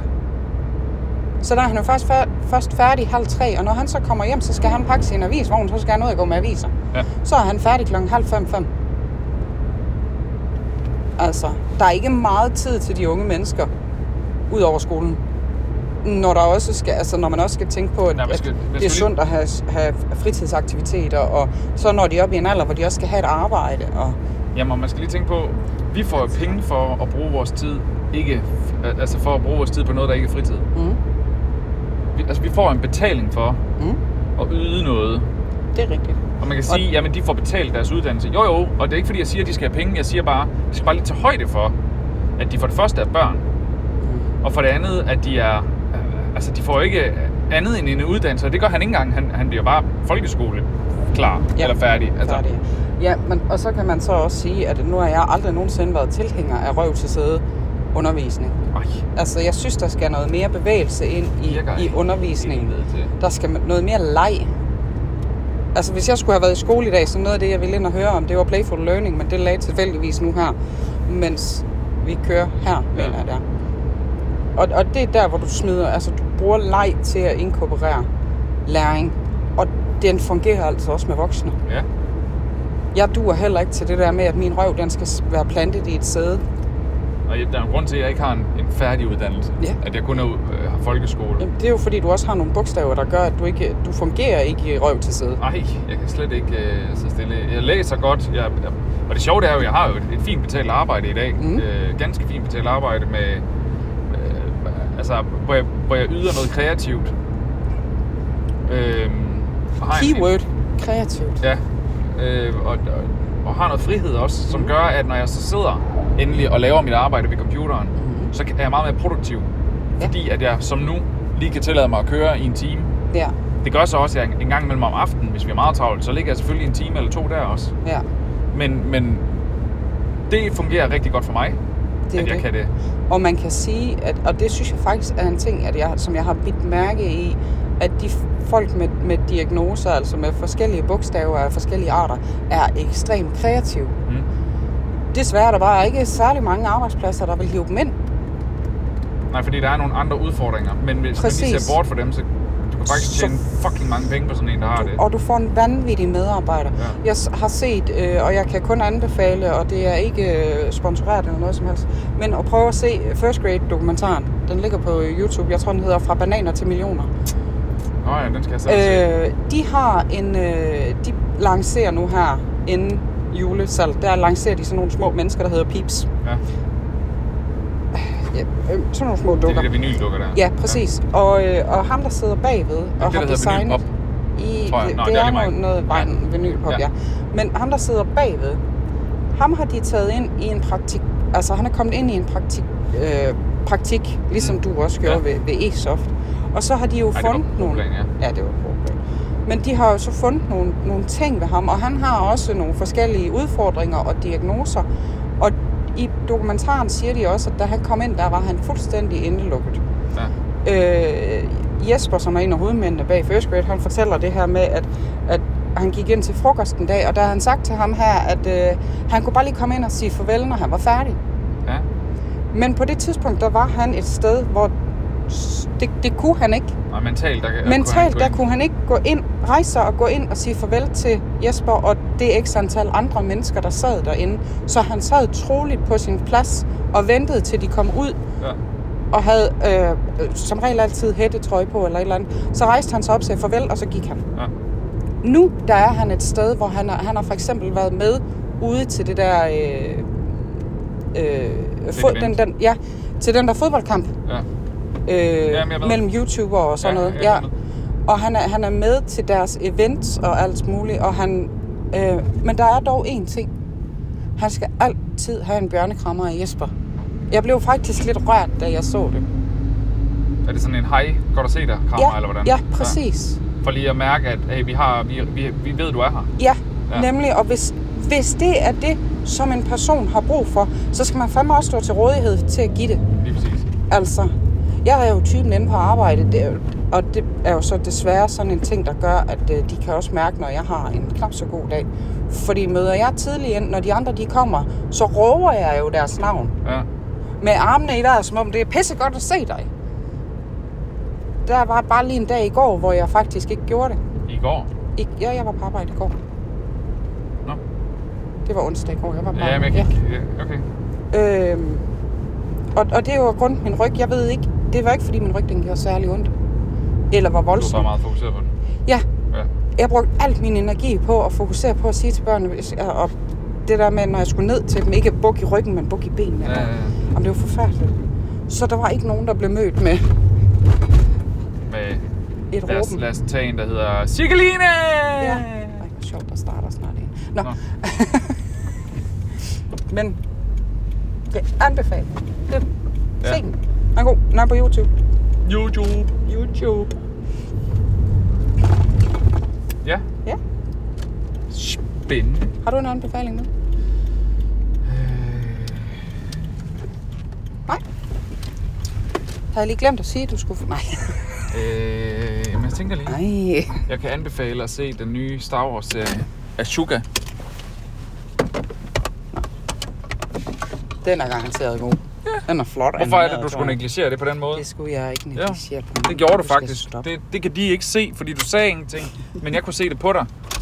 Speaker 3: Så der er han jo først, fær- først færdig halv tre, og når han så kommer hjem, så skal han pakke sin avisvogn, så skal han ud og gå med aviser.
Speaker 2: Ja.
Speaker 3: Så er han færdig klokken halv fem, fem. Altså, der er ikke meget tid til de unge mennesker, ud over skolen. Når, der også skal, altså, når man også skal tænke på, at,
Speaker 2: Nej,
Speaker 3: Nej,
Speaker 2: men skal-
Speaker 3: at
Speaker 2: men
Speaker 3: det er
Speaker 2: skal vi-
Speaker 3: sundt at have, have fritidsaktiviteter, og så når de op i en alder, hvor de også skal have et arbejde. Og,
Speaker 2: Jamen, og man skal lige tænke på, vi får jo penge for at bruge vores tid ikke, altså for at bruge vores tid på noget, der ikke er fritid.
Speaker 3: mm,
Speaker 2: Vi, altså, vi får en betaling for
Speaker 3: mm,
Speaker 2: at yde noget,
Speaker 3: det er rigtigt.
Speaker 2: Og man kan sige, jamen de får betalt deres uddannelse. Jo jo, og det er ikke fordi, jeg siger, at de skal have penge. Jeg siger bare, de skal bare lige tage højde for, at de for det første er børn.
Speaker 3: Mm.
Speaker 2: Og for det andet, at de er... øh, Altså, de får ikke andet end en uddannelse, og det gør han ikke engang. Han, han bliver bare folkeskole klar ja.
Speaker 3: Ja.
Speaker 2: eller færdig. Altså,
Speaker 3: Altså. Ja, men, og så kan man så også sige, at nu har jeg aldrig nogensinde været tilhænger af røv til sæde undervisning.
Speaker 2: Ej,
Speaker 3: Altså, jeg synes, der skal noget mere bevægelse ind i,
Speaker 2: Virker
Speaker 3: i
Speaker 2: ikke
Speaker 3: undervisningen.
Speaker 2: helvede til.
Speaker 3: Der skal noget mere leg. Altså, hvis jeg skulle have været i skole i dag, så noget af det, jeg ville ind og høre om, det var playful learning, men det lagde tilfældigvis nu her, mens vi kører her,
Speaker 2: Ja.
Speaker 3: ja. mener jeg der. Og, og det er der, hvor du smider, altså, du bruger leg til at inkorporere læring. Og den fungerer altså også med voksne.
Speaker 2: ja.
Speaker 3: Jeg duer heller ikke til det der med, at min røv, den skal s- være plantet i et sæde.
Speaker 2: Og jeg- der er en grund til, at jeg ikke har en, en færdig uddannelse.
Speaker 3: Ja.
Speaker 2: At jeg kun er, øh, har folkeskole.
Speaker 3: Jamen, det er jo fordi, du også har nogle bogstaver, der gør, at du, ikke, du fungerer ikke i røv til sæde.
Speaker 2: Nej, jeg kan slet ikke øh, sidde stille. Jeg læser godt, jeg, jeg, og det sjove det er jo, at jeg har jo et, et fint betalt arbejde i dag. Mm.
Speaker 3: Mm.
Speaker 2: Øh, ganske fint betalt arbejde, med, øh, altså, hvor, jeg, hvor jeg yder noget kreativt. Øh, og har en-
Speaker 3: Keyword, kreativt.
Speaker 2: Ja, øh, og, og, og har noget frihed også, som gør, at når jeg så sidder endelig og laver mit arbejde ved computeren, mm. så er jeg meget mere produktiv.
Speaker 3: Ja.
Speaker 2: Fordi at jeg som nu lige kan tillade mig at køre i en time.
Speaker 3: Ja,
Speaker 2: Det gør så også, at jeg en gang imellem om aftenen, hvis vi er meget travlt, så ligger jeg selvfølgelig en time eller to der også.
Speaker 3: ja.
Speaker 2: Men, men det fungerer rigtig godt for mig,
Speaker 3: Det er
Speaker 2: at jeg
Speaker 3: det.
Speaker 2: kan det.
Speaker 3: Og man kan sige, at, og det synes jeg faktisk er en ting, at jeg, som jeg har bidt mærke i, at de f- folk med, med diagnoser, altså med forskellige bogstaver af forskellige arter, er ekstremt kreative.
Speaker 2: Mm.
Speaker 3: Desværre er der bare ikke særlig mange arbejdspladser, der vil hive dem ind.
Speaker 2: Nej, fordi der er nogle andre udfordringer. Men hvis man lige
Speaker 3: Præcis.
Speaker 2: ser bort fra dem, så du kan faktisk
Speaker 3: Så-
Speaker 2: tjene fucking mange penge på sådan en, der har det.
Speaker 3: Og du får en vanvittig medarbejder.
Speaker 2: Ja.
Speaker 3: Jeg s- har set, øh, og jeg kan kun anbefale, og det er ikke øh, sponsoreret eller noget som helst, men at prøve at se First Grade-dokumentaren. Den ligger på øh, YouTube. Jeg tror, den hedder Fra bananer til millioner.
Speaker 2: Nå ja, den skal jeg selv øh... se.
Speaker 3: Øh, de har en, øh, de lancerer nu her inden julesalg, der lancerer de sådan nogle små mennesker, der hedder Peeps.
Speaker 2: Ja.
Speaker 3: Ja, øh, sådan nogle små
Speaker 2: Det er
Speaker 3: dukker.
Speaker 2: de der vinyldukker der.
Speaker 3: Ja, præcis. Og, øh, og ham, der sidder bagved og
Speaker 2: det,
Speaker 3: har
Speaker 2: der hedder
Speaker 3: designet...
Speaker 2: vinylpop,
Speaker 3: I,
Speaker 2: tror jeg.
Speaker 3: det,
Speaker 2: Nå,
Speaker 3: det
Speaker 2: det
Speaker 3: er
Speaker 2: er lige meget.
Speaker 3: noget, noget vej,
Speaker 2: Ja.
Speaker 3: vinylpop,
Speaker 2: Ja.
Speaker 3: ja. Men ham, der sidder bagved, ham har de taget ind i en praktik... Altså, han er kommet ind i en praktik, øh, praktik ligesom
Speaker 2: Mm.
Speaker 3: du også gjorde
Speaker 2: Ja.
Speaker 3: ved, ved E-Soft. Og så har de jo
Speaker 2: det var
Speaker 3: fundet
Speaker 2: på
Speaker 3: nogle...
Speaker 2: Plan, ja.
Speaker 3: Ja, det var på plan. Men de har jo så fundet nogle, nogle ting ved ham, og han har også nogle forskellige udfordringer og diagnoser. Og i dokumentaren siger de også, at da han kom ind, der var han fuldstændig indelukket.
Speaker 2: Ja.
Speaker 3: Øh, Jesper, som er en af hovedmændene bag First Grade, han fortæller det her med, at, at han gik ind til frokosten en dag, og der havde han sagt til ham her, at øh, han kunne bare lige komme ind og sige farvel, når han var færdig.
Speaker 2: ja.
Speaker 3: Men på det tidspunkt, der var han et sted, hvor s- det, det kunne han ikke.
Speaker 2: Og mentalt, der, kan-
Speaker 3: Mentalt,
Speaker 2: gå
Speaker 3: der
Speaker 2: ind.
Speaker 3: kunne han ikke gå ind, rejse sig og gå ind og sige farvel til Jesper og det ekstra antal andre mennesker, der sad derinde. Så han sad troligt på sin plads og ventede til de kom ud
Speaker 2: Ja.
Speaker 3: og havde øh, øh, som regel altid hættetrøje på eller et eller andet. Så rejste han sig op, sagde farvel, og så gik han.
Speaker 2: Ja.
Speaker 3: Nu der er han et sted, hvor han, er, han har for eksempel været med ude til det der... Øh, øh, fod, den,
Speaker 2: event.
Speaker 3: den, ja, til den der fodboldkamp
Speaker 2: Ja.
Speaker 3: øh,
Speaker 2: jeg ved det.
Speaker 3: mellem YouTuber og sådan
Speaker 2: Ja,
Speaker 3: noget.
Speaker 2: jeg
Speaker 3: Ja,
Speaker 2: ved det.
Speaker 3: Og han er, han er med til deres events og alt muligt, og han, øh, men der er dog én ting. Han skal altid have en bjørnekrammer af Jesper. Jeg blev faktisk lidt rørt, da jeg så det.
Speaker 2: Er det sådan en hej, godt at se dig, krammer, eller hvordan?
Speaker 3: ja præcis.
Speaker 2: Ja. For lige at mærke, at hey, vi, har, vi, vi, vi ved, du er her.
Speaker 3: Ja,
Speaker 2: Ja.
Speaker 3: ja. nemlig. Og hvis, hvis det er det, som en person har brug for, så skal man fandme også stå til rådighed til at give det.
Speaker 2: Lige præcis.
Speaker 3: Altså, jeg er jo typen inde på arbejde, det er, jo- og det er jo så desværre sådan en ting, der gør, at øh, de kan også mærke, når jeg har en knap så god dag. Fordi møder jeg tidlig ind, når de andre de kommer, så råber jeg jo deres navn.
Speaker 2: Ja.
Speaker 3: Med armene i vejret, som om det er pissegodt at se dig. Der var bare lige en dag i går, hvor jeg faktisk ikke gjorde det.
Speaker 2: I går.
Speaker 3: Ikke, ja, jeg var på arbejde i går.
Speaker 2: Nå.
Speaker 3: Det var onsdag i går, jeg var på
Speaker 2: Ja, men jeg
Speaker 3: arbejde.
Speaker 2: kan ikke... ja, Okay.
Speaker 3: Ja. Øhm, og, og det er jo grundet min ryg. Jeg ved ikke, det var ikke fordi min ryg den gjorde særlig ondt. Eller var
Speaker 2: Du er
Speaker 3: voldsom.
Speaker 2: bare meget fokuseret på den.
Speaker 3: Ja,
Speaker 2: Ja.
Speaker 3: jeg brugte alt min energi på at fokusere på at sige til børnene, hvis jeg, og det der med, når jeg skulle ned til dem, ikke buk i ryggen, men buk i benene.
Speaker 2: Ja, ja, ja.
Speaker 3: Jamen, det var forfærdeligt. Så der var ikke nogen, der blev mødt med
Speaker 2: Med,
Speaker 3: et
Speaker 2: lad, os,
Speaker 3: råben.
Speaker 2: lad os tage en, der hedder Cirkeline!
Speaker 3: Ja. Ej, hvor sjovt, der starter snart en. Nå.
Speaker 2: Nå.
Speaker 3: Nå. Men, ja, anbefaler. Det,
Speaker 2: Ja.
Speaker 3: ja. Se den. Den er god. Den er på YouTube.
Speaker 2: YouTube.
Speaker 3: YouTube.
Speaker 2: Ja.
Speaker 3: Ja.
Speaker 2: Spændende.
Speaker 3: Har du en anbefaling med? Nej. Havde jeg lige glemt at sige, at du skulle... få- Nej.
Speaker 2: Øh, men jeg tænker lige.
Speaker 3: Nej.
Speaker 2: Jeg kan anbefale at se den nye Star Wars-serie. Ashoka.
Speaker 3: Den er garanteret god. Ja. Den er flot.
Speaker 2: Hvorfor er det,
Speaker 3: animeret,
Speaker 2: du
Speaker 3: tror
Speaker 2: skulle
Speaker 3: jeg.
Speaker 2: negligere det på den måde?
Speaker 3: Det skulle jeg ikke
Speaker 2: Ja,
Speaker 3: negligere på.
Speaker 2: Det gjorde du
Speaker 3: skal
Speaker 2: faktisk.
Speaker 3: stoppe.
Speaker 2: Det, det kan de ikke se, fordi du sagde ingenting. Men jeg kunne se det på dig.
Speaker 3: Jeg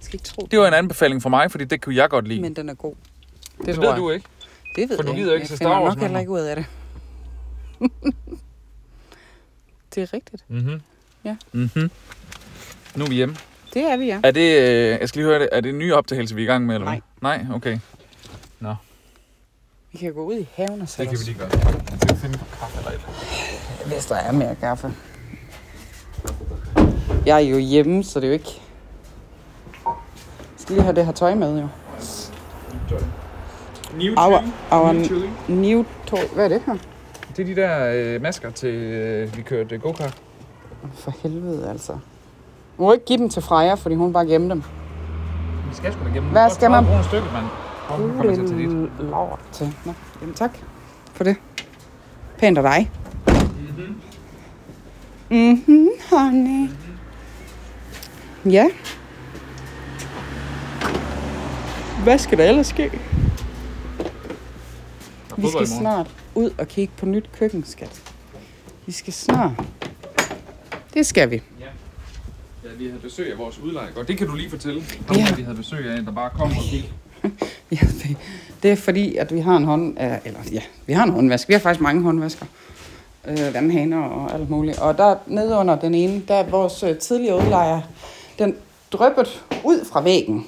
Speaker 3: skal ikke tro det.
Speaker 2: Det var en anbefaling for mig, fordi det kunne jeg godt lide. Men
Speaker 3: Men den er god. Det,
Speaker 2: det
Speaker 3: tror
Speaker 2: ved
Speaker 3: jeg.
Speaker 2: du ikke.
Speaker 3: Det ved
Speaker 2: For du
Speaker 3: jeg
Speaker 2: gider ikke
Speaker 3: Jeg
Speaker 2: se
Speaker 3: finder
Speaker 2: Star Wars
Speaker 3: nok
Speaker 2: med mig.
Speaker 3: heller ikke ud af det. det er rigtigt.
Speaker 2: Mhm.
Speaker 3: Ja.
Speaker 2: Mhm. Nu er vi hjemme.
Speaker 3: Det er vi, ja.
Speaker 2: Er det, øh, jeg skal lige høre det, er det en ny optagelse, vi er i gang med, eller hvad? Nej, okay.
Speaker 3: Vi kan gå ud i haven og sætte os.
Speaker 2: lige gøre. Jeg skal finde på kaffe eller et eller
Speaker 3: Hvis der er mere kaffe. Jeg er jo hjemme, så det er jo ikke... Jeg skal lige have det her tøj med, jo.
Speaker 2: andet. New
Speaker 3: Our-
Speaker 2: tune.
Speaker 3: our-
Speaker 2: New tune.
Speaker 3: New tøj. Hvad er det her?
Speaker 2: Det er de der øh, masker til, øh, vi kørte go-kart.
Speaker 3: For helvede, altså. Du må ikke give dem til Freja, fordi hun bare gemte dem.
Speaker 2: Vi skal sgu da gennem.
Speaker 3: Hvad skal man- Uhuh,
Speaker 2: bruge en stykke, mand? Åh, nu kommer jeg til at tage dit.
Speaker 3: Lille lort til. Nå, jamen tak for det. Pænt af dig. Mhm, mm-hmm, honey. Ja. Hvad skal der ellers ske?
Speaker 2: Der er
Speaker 3: Vi
Speaker 2: fodbold
Speaker 3: skal
Speaker 2: i morgen.
Speaker 3: snart ud og kigge på nyt køkken, skat. Vi skal snart. Det skal vi.
Speaker 2: Ja, vi havde besøg af vores udlejer. Og det kan du lige fortælle. Ham,
Speaker 3: Ja.
Speaker 2: ja. vi havde besøg af, der bare kom og gik.
Speaker 3: Ja, det, det er fordi, at vi har en hånd... øh, Eller ja, vi har en håndvask. Vi har faktisk mange håndvasker. Øh, vandhaner og alt muligt. Og der nede under den ene, der er vores øh, tidligere udlejer, den drøbbede ud fra væggen.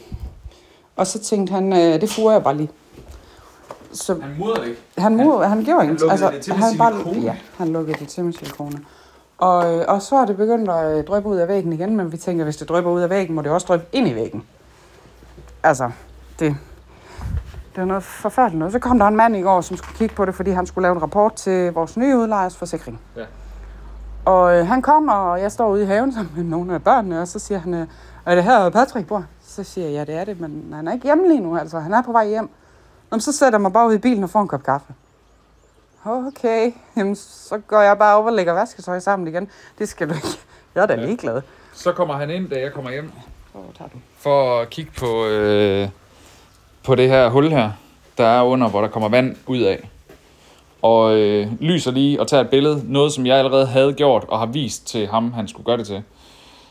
Speaker 3: Og så tænkte han, øh, det furer jeg bare lige. Så
Speaker 2: Han mudder ikke.
Speaker 3: han, mur, han, gjorde
Speaker 2: han
Speaker 3: ikke. altså,
Speaker 2: lukkede det til med silikone.
Speaker 3: ja, han lukkede det til med silikone. Og, øh, og så er det begyndt at øh, dryppe ud af væggen igen, men vi tænker, hvis det drypper ud af væggen, må det også dryppe ind i væggen. Altså, det, det var noget forfærdeligt noget. Så kom der en mand i går, som skulle kigge på det, fordi han skulle lave en rapport til vores nye udlejers forsikring.
Speaker 2: Ja.
Speaker 3: Og øh, han kommer, og jeg står ude i haven sammen med nogle af børnene, og så siger han, øh, er det her Patrick bor? Så siger jeg, ja, det er det, men han er ikke hjemme lige nu, altså. Han er på vej hjem. Nå, men så sætter jeg mig bare ud i bilen og får en kop kaffe. Okay, jamen, så går jeg bare op og lægger vasketøj sammen igen. Det skal du ikke. Jeg er da ligeglad.
Speaker 2: Så kommer han ind, da jeg kommer hjem,
Speaker 3: Hvor tager du?
Speaker 2: for at kigge på, øh, på det her hul her, der er under, hvor der kommer vand ud af. Og øh, lyser lige og tager et billede, noget som jeg allerede havde gjort og har vist til ham, han skulle gøre det til.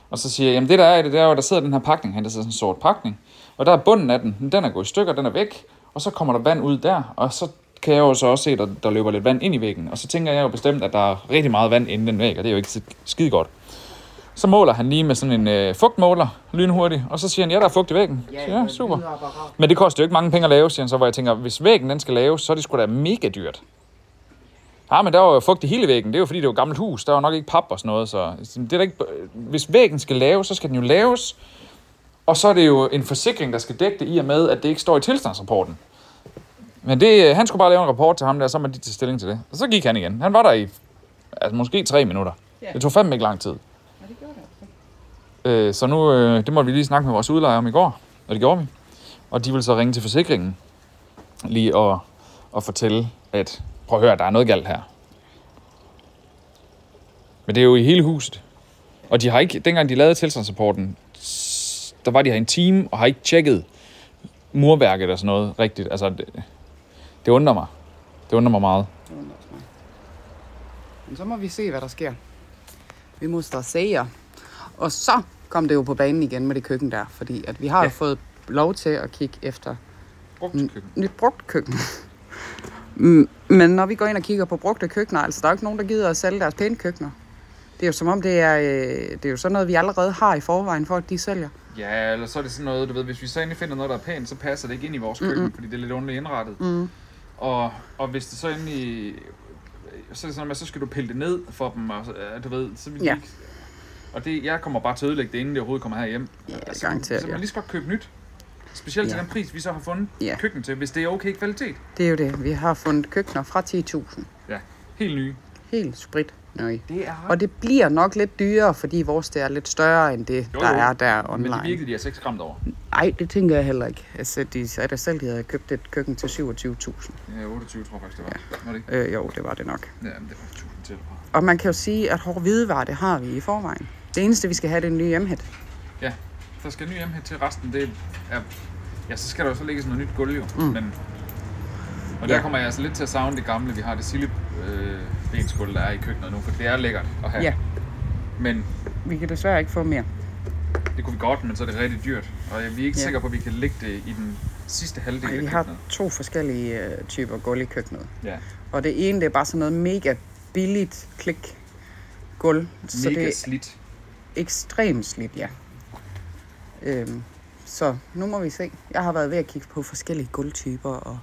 Speaker 2: Og så siger jeg, jamen det der er i det, der er jo, der sidder den her pakning, han der sidder sådan en sort pakning. Og der er bunden af den, den er gået i stykker, den er væk. Og så kommer der vand ud der, og så kan jeg jo så også se, at der, der løber lidt vand ind i væggen. Og så tænker jeg jo bestemt, at der er rigtig meget vand inde i den væg, og det er jo ikke skide godt. Så måler han lige med sådan en øh, fugtmåler, lynhurtigt, og så siger han, ja, der er fugt i væggen. Ja, ja super. Men det koster jo ikke mange penge at lave, siger han så, hvor jeg tænker, hvis væggen den skal laves, så er det sgu da mega dyrt. Ja, men der var jo fugt i hele væggen. Det er jo fordi, det var et gammelt hus. Der var nok ikke pap og sådan noget. Så det er da ikke... øh, Hvis væggen skal laves, så skal den jo laves. Og så er det jo en forsikring, der skal dække det i og med, at det ikke står i tilstandsrapporten. Men det, øh, han skulle bare lave en rapport til ham der, så må de tage stilling til det. Og så gik han igen. Han var der i altså, måske tre minutter.
Speaker 3: Ja.
Speaker 2: Det tog fandme ikke lang tid.
Speaker 3: Ja, det gjorde det altså.
Speaker 2: Øh, så nu, øh, det måtte vi lige snakke med vores udlejer om i går, og det gjorde vi. Og de ville så ringe til forsikringen lige og, og fortælle, at prøv at høre, der er noget galt her. Men det er jo i hele huset. Og de har ikke, dengang de lavede tilstandsrapporten, s- der var de her en time og har ikke tjekket murværket og sådan noget rigtigt. Altså, det, det undrer mig. Det undrer mig meget.
Speaker 3: Det undrer også mig. Men så må vi se, hvad der sker. Vi må stressere. Og så kom det jo på banen igen med det køkken der, fordi at vi har ja.
Speaker 2: Ja.
Speaker 3: fået lov til at kigge efter
Speaker 2: Brugt køkken.
Speaker 3: nyt brugt køkken. Mm, Men når vi går ind og kigger på brugte køkkener, altså der er jo ikke nogen, der gider at sælge deres pæne køkkener. Det er jo som om, det er, øh, det er jo sådan noget, vi allerede har i forvejen, for at de sælger.
Speaker 2: Ja, eller så er det sådan noget, du ved, hvis vi så endelig finder noget, der er pænt, så passer det ikke ind i vores køkken, mm-hmm. fordi det er lidt underligt indrettet.
Speaker 3: Mhm.
Speaker 2: Og, og hvis det så endelig, så er det sådan, at så skal du pille det ned for dem, og, så- øh, du ved, så vil de
Speaker 3: Ja.
Speaker 2: ikke, og det, jeg kommer bare til at ødelægge det, inden det overhovedet kommer herhjem.
Speaker 3: Ja,
Speaker 2: Altså,
Speaker 3: garanteret,
Speaker 2: Så
Speaker 3: ja.
Speaker 2: man lige så godt købe nyt. Specielt til
Speaker 3: Ja.
Speaker 2: den pris, vi så har fundet
Speaker 3: Ja.
Speaker 2: køkken til, hvis det er okay kvalitet.
Speaker 3: Det er jo det. Vi har fundet køkkener fra 10.000.
Speaker 2: Ja, helt nye.
Speaker 3: Helt sprit nøje.
Speaker 2: Det er
Speaker 3: Og det bliver nok lidt dyrere, fordi vores det er lidt større end det,
Speaker 2: Jo,
Speaker 3: der
Speaker 2: jo.
Speaker 3: er der
Speaker 2: Men det
Speaker 3: online.
Speaker 2: virkede de altså ikke skræmt over.
Speaker 3: Nej, det tænker jeg heller ikke. Altså, de sagde da selv, de havde købt et køkken til 27.000.
Speaker 2: Ja, 28 tror jeg faktisk, det var. Ja. Var det ikke?
Speaker 3: Øh, jo, det var det nok.
Speaker 2: Ja, men det var 1000 til.
Speaker 3: Og man kan jo sige, at hård hvidevare, det har vi i forvejen. Det eneste, vi skal have, det er en ny hjemhet.
Speaker 2: Ja, der skal ny hjem her til resten. Det er, ja, så skal der jo så lægges noget nyt gulv jo. Mm. Men, og der
Speaker 3: Ja.
Speaker 2: kommer jeg altså lidt til at savne det gamle, vi har det sillebensgulv, øh, der er i køkkenet nu, for det er lækkert at have.
Speaker 3: Ja,
Speaker 2: Men
Speaker 3: vi kan desværre ikke få mere.
Speaker 2: det kunne vi godt, men så er det rigtig dyrt. Og vi er ikke
Speaker 3: Ja.
Speaker 2: ja. sikre på, at vi kan lægge det i den sidste halvdel
Speaker 3: Ej, vi
Speaker 2: af køkkenet.
Speaker 3: har to forskellige øh, typer gulv i køkkenet.
Speaker 2: Ja.
Speaker 3: Og det ene, det er bare sådan noget mega billigt klik gulv. Så
Speaker 2: Mega
Speaker 3: det
Speaker 2: slidt.
Speaker 3: ekstremt slidt, ja. Øhm, så nu må vi se. Jeg har været ved at kigge på forskellige gulvtyper, og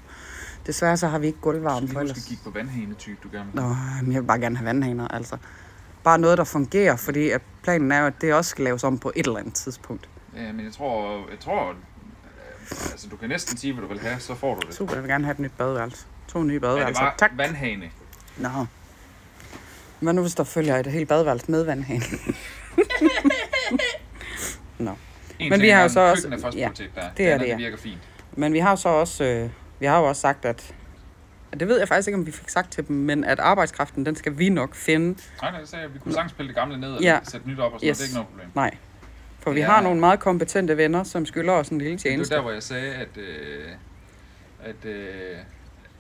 Speaker 3: desværre så har vi ikke gulvvarme
Speaker 2: Så
Speaker 3: for
Speaker 2: lige
Speaker 3: ellers.
Speaker 2: skal kigge på vandhane-type, du gerne vil.
Speaker 3: Nå, men jeg vil bare gerne have vandhaner, altså. Bare noget, der fungerer, fordi at planen er jo, at det også skal laves om på et eller andet tidspunkt.
Speaker 2: Ja, men jeg tror, jeg tror øh, altså, du kan næsten sige, hvad du vil have, så får du det.
Speaker 3: Super, jeg vil gerne have et nyt badeværelse. To nye
Speaker 2: Ja,
Speaker 3: badeværelser.
Speaker 2: det var
Speaker 3: tak.
Speaker 2: vandhane.
Speaker 3: Nå, Hvad nu, hvis der følger et helt badeværelse med vandhanen? Nå.
Speaker 2: En
Speaker 3: Men
Speaker 2: ting
Speaker 3: vi har
Speaker 2: er,
Speaker 3: jo så også-
Speaker 2: Køkken er første
Speaker 3: ja,
Speaker 2: prioritet der.
Speaker 3: det er
Speaker 2: andet,
Speaker 3: det, ja.
Speaker 2: virker fint.
Speaker 3: Men vi har jo så også, øh, vi har jo også sagt, at og det ved jeg faktisk ikke, om vi fik sagt til dem, men at arbejdskraften, den skal vi nok finde.
Speaker 2: Nej, nej, jeg sagde, at vi kunne sagtens pille det gamle ned og
Speaker 3: Ja.
Speaker 2: sætte nyt op og sådan
Speaker 3: Yes.
Speaker 2: yes. Det er ikke noget problem.
Speaker 3: Nej. For vi
Speaker 2: Ja.
Speaker 3: ja. har nogle meget kompetente venner, som skylder os en lille
Speaker 2: Det
Speaker 3: tjeneste.
Speaker 2: var der, hvor jeg sagde, at, øh, at, øh,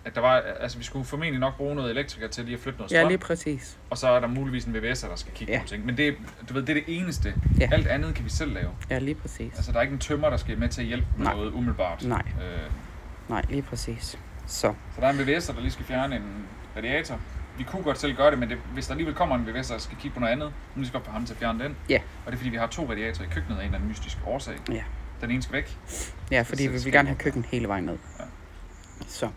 Speaker 2: at der var, altså, vi skulle formentlig nok bruge noget elektriker til lige at flytte noget strøm,
Speaker 3: Ja, lige præcis.
Speaker 2: og så er der muligvis en VVS'er, der skal kigge ja.
Speaker 3: Ja.
Speaker 2: på nogle ting. Men det, du ved, det er det eneste.
Speaker 3: Ja.
Speaker 2: Alt andet kan vi selv lave.
Speaker 3: Ja, lige præcis.
Speaker 2: Altså, der er ikke en tømmer, der skal med til at hjælpe med
Speaker 3: Nej.
Speaker 2: noget umiddelbart.
Speaker 3: Nej.
Speaker 2: Øh,
Speaker 3: Nej, lige præcis. Så,
Speaker 2: så der er en VVS'er, der lige skal fjerne en radiator. Vi kunne godt selv gøre det, men det, hvis der alligevel kommer en VVS'er, der skal kigge på noget andet, så må vi skal godt få ham til at fjerne den.
Speaker 3: Ja.
Speaker 2: Og det er fordi, vi har to radiatorer i køkkenet af en eller anden mystisk årsag.
Speaker 3: Ja.
Speaker 2: Den ene skal væk.
Speaker 3: ja, fordi vi vil gerne have køkken hele vejen ned.
Speaker 2: Ja.
Speaker 3: Så.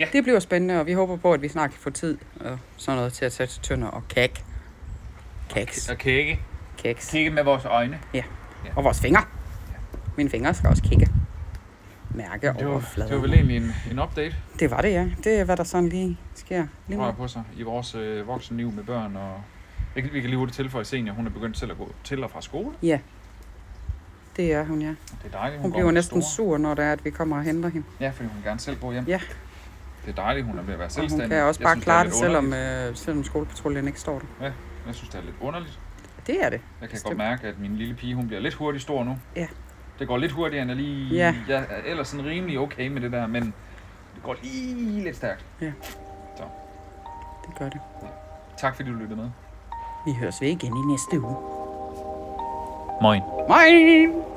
Speaker 2: Ja.
Speaker 3: Det bliver spændende, og vi håber på, at vi snart kan få tid og sådan noget til at tage til tønder og kæk. Kæks.
Speaker 2: Og kigge.
Speaker 3: Kæks.
Speaker 2: Kigge med vores øjne.
Speaker 3: Og vores fingre. Mine fingre skal også kigge. Mærke
Speaker 2: Det var,
Speaker 3: overfladen.
Speaker 2: det var vel egentlig en, en update,
Speaker 3: Det var det, ja. Det er, hvad der sådan lige sker lige
Speaker 2: tror
Speaker 3: nu.
Speaker 2: jeg på sig, i vores øh, voksenliv med børn. Og jeg, kan- vi kan lige hurtigt tilføje senior, hun er begyndt selv at gå til og fra skole.
Speaker 3: Ja. Det er hun, ja.
Speaker 2: Det er dejligt, hun,
Speaker 3: Hun
Speaker 2: går
Speaker 3: bliver
Speaker 2: med
Speaker 3: næsten
Speaker 2: store.
Speaker 3: sur, når det er, at vi kommer og henter hende.
Speaker 2: Ja, fordi hun gerne selv går hjem.
Speaker 3: Ja.
Speaker 2: Det er dejligt, hun er ved at være
Speaker 3: Og
Speaker 2: selvstændig.
Speaker 3: hun kan også
Speaker 2: Jeg
Speaker 3: bare
Speaker 2: synes,
Speaker 3: klare
Speaker 2: er
Speaker 3: det,
Speaker 2: lidt
Speaker 3: selvom,
Speaker 2: underligt.
Speaker 3: øh, selvom skolepatruljen ikke står der.
Speaker 2: Jeg synes, det er lidt underligt.
Speaker 3: Det er det.
Speaker 2: Jeg kan godt
Speaker 3: Bestemt.
Speaker 2: mærke, at min lille pige, hun bliver lidt hurtig stor nu.
Speaker 3: Ja.
Speaker 2: Det går lidt hurtigere, end jeg lige...
Speaker 3: Ja.
Speaker 2: Jeg er ellers sådan rimelig okay med det der, men det går lige lidt stærkt.
Speaker 3: Det gør det.
Speaker 2: Tak fordi du lyttede med.
Speaker 3: Vi høres ved igen i næste uge.
Speaker 2: Moin.
Speaker 3: Moin!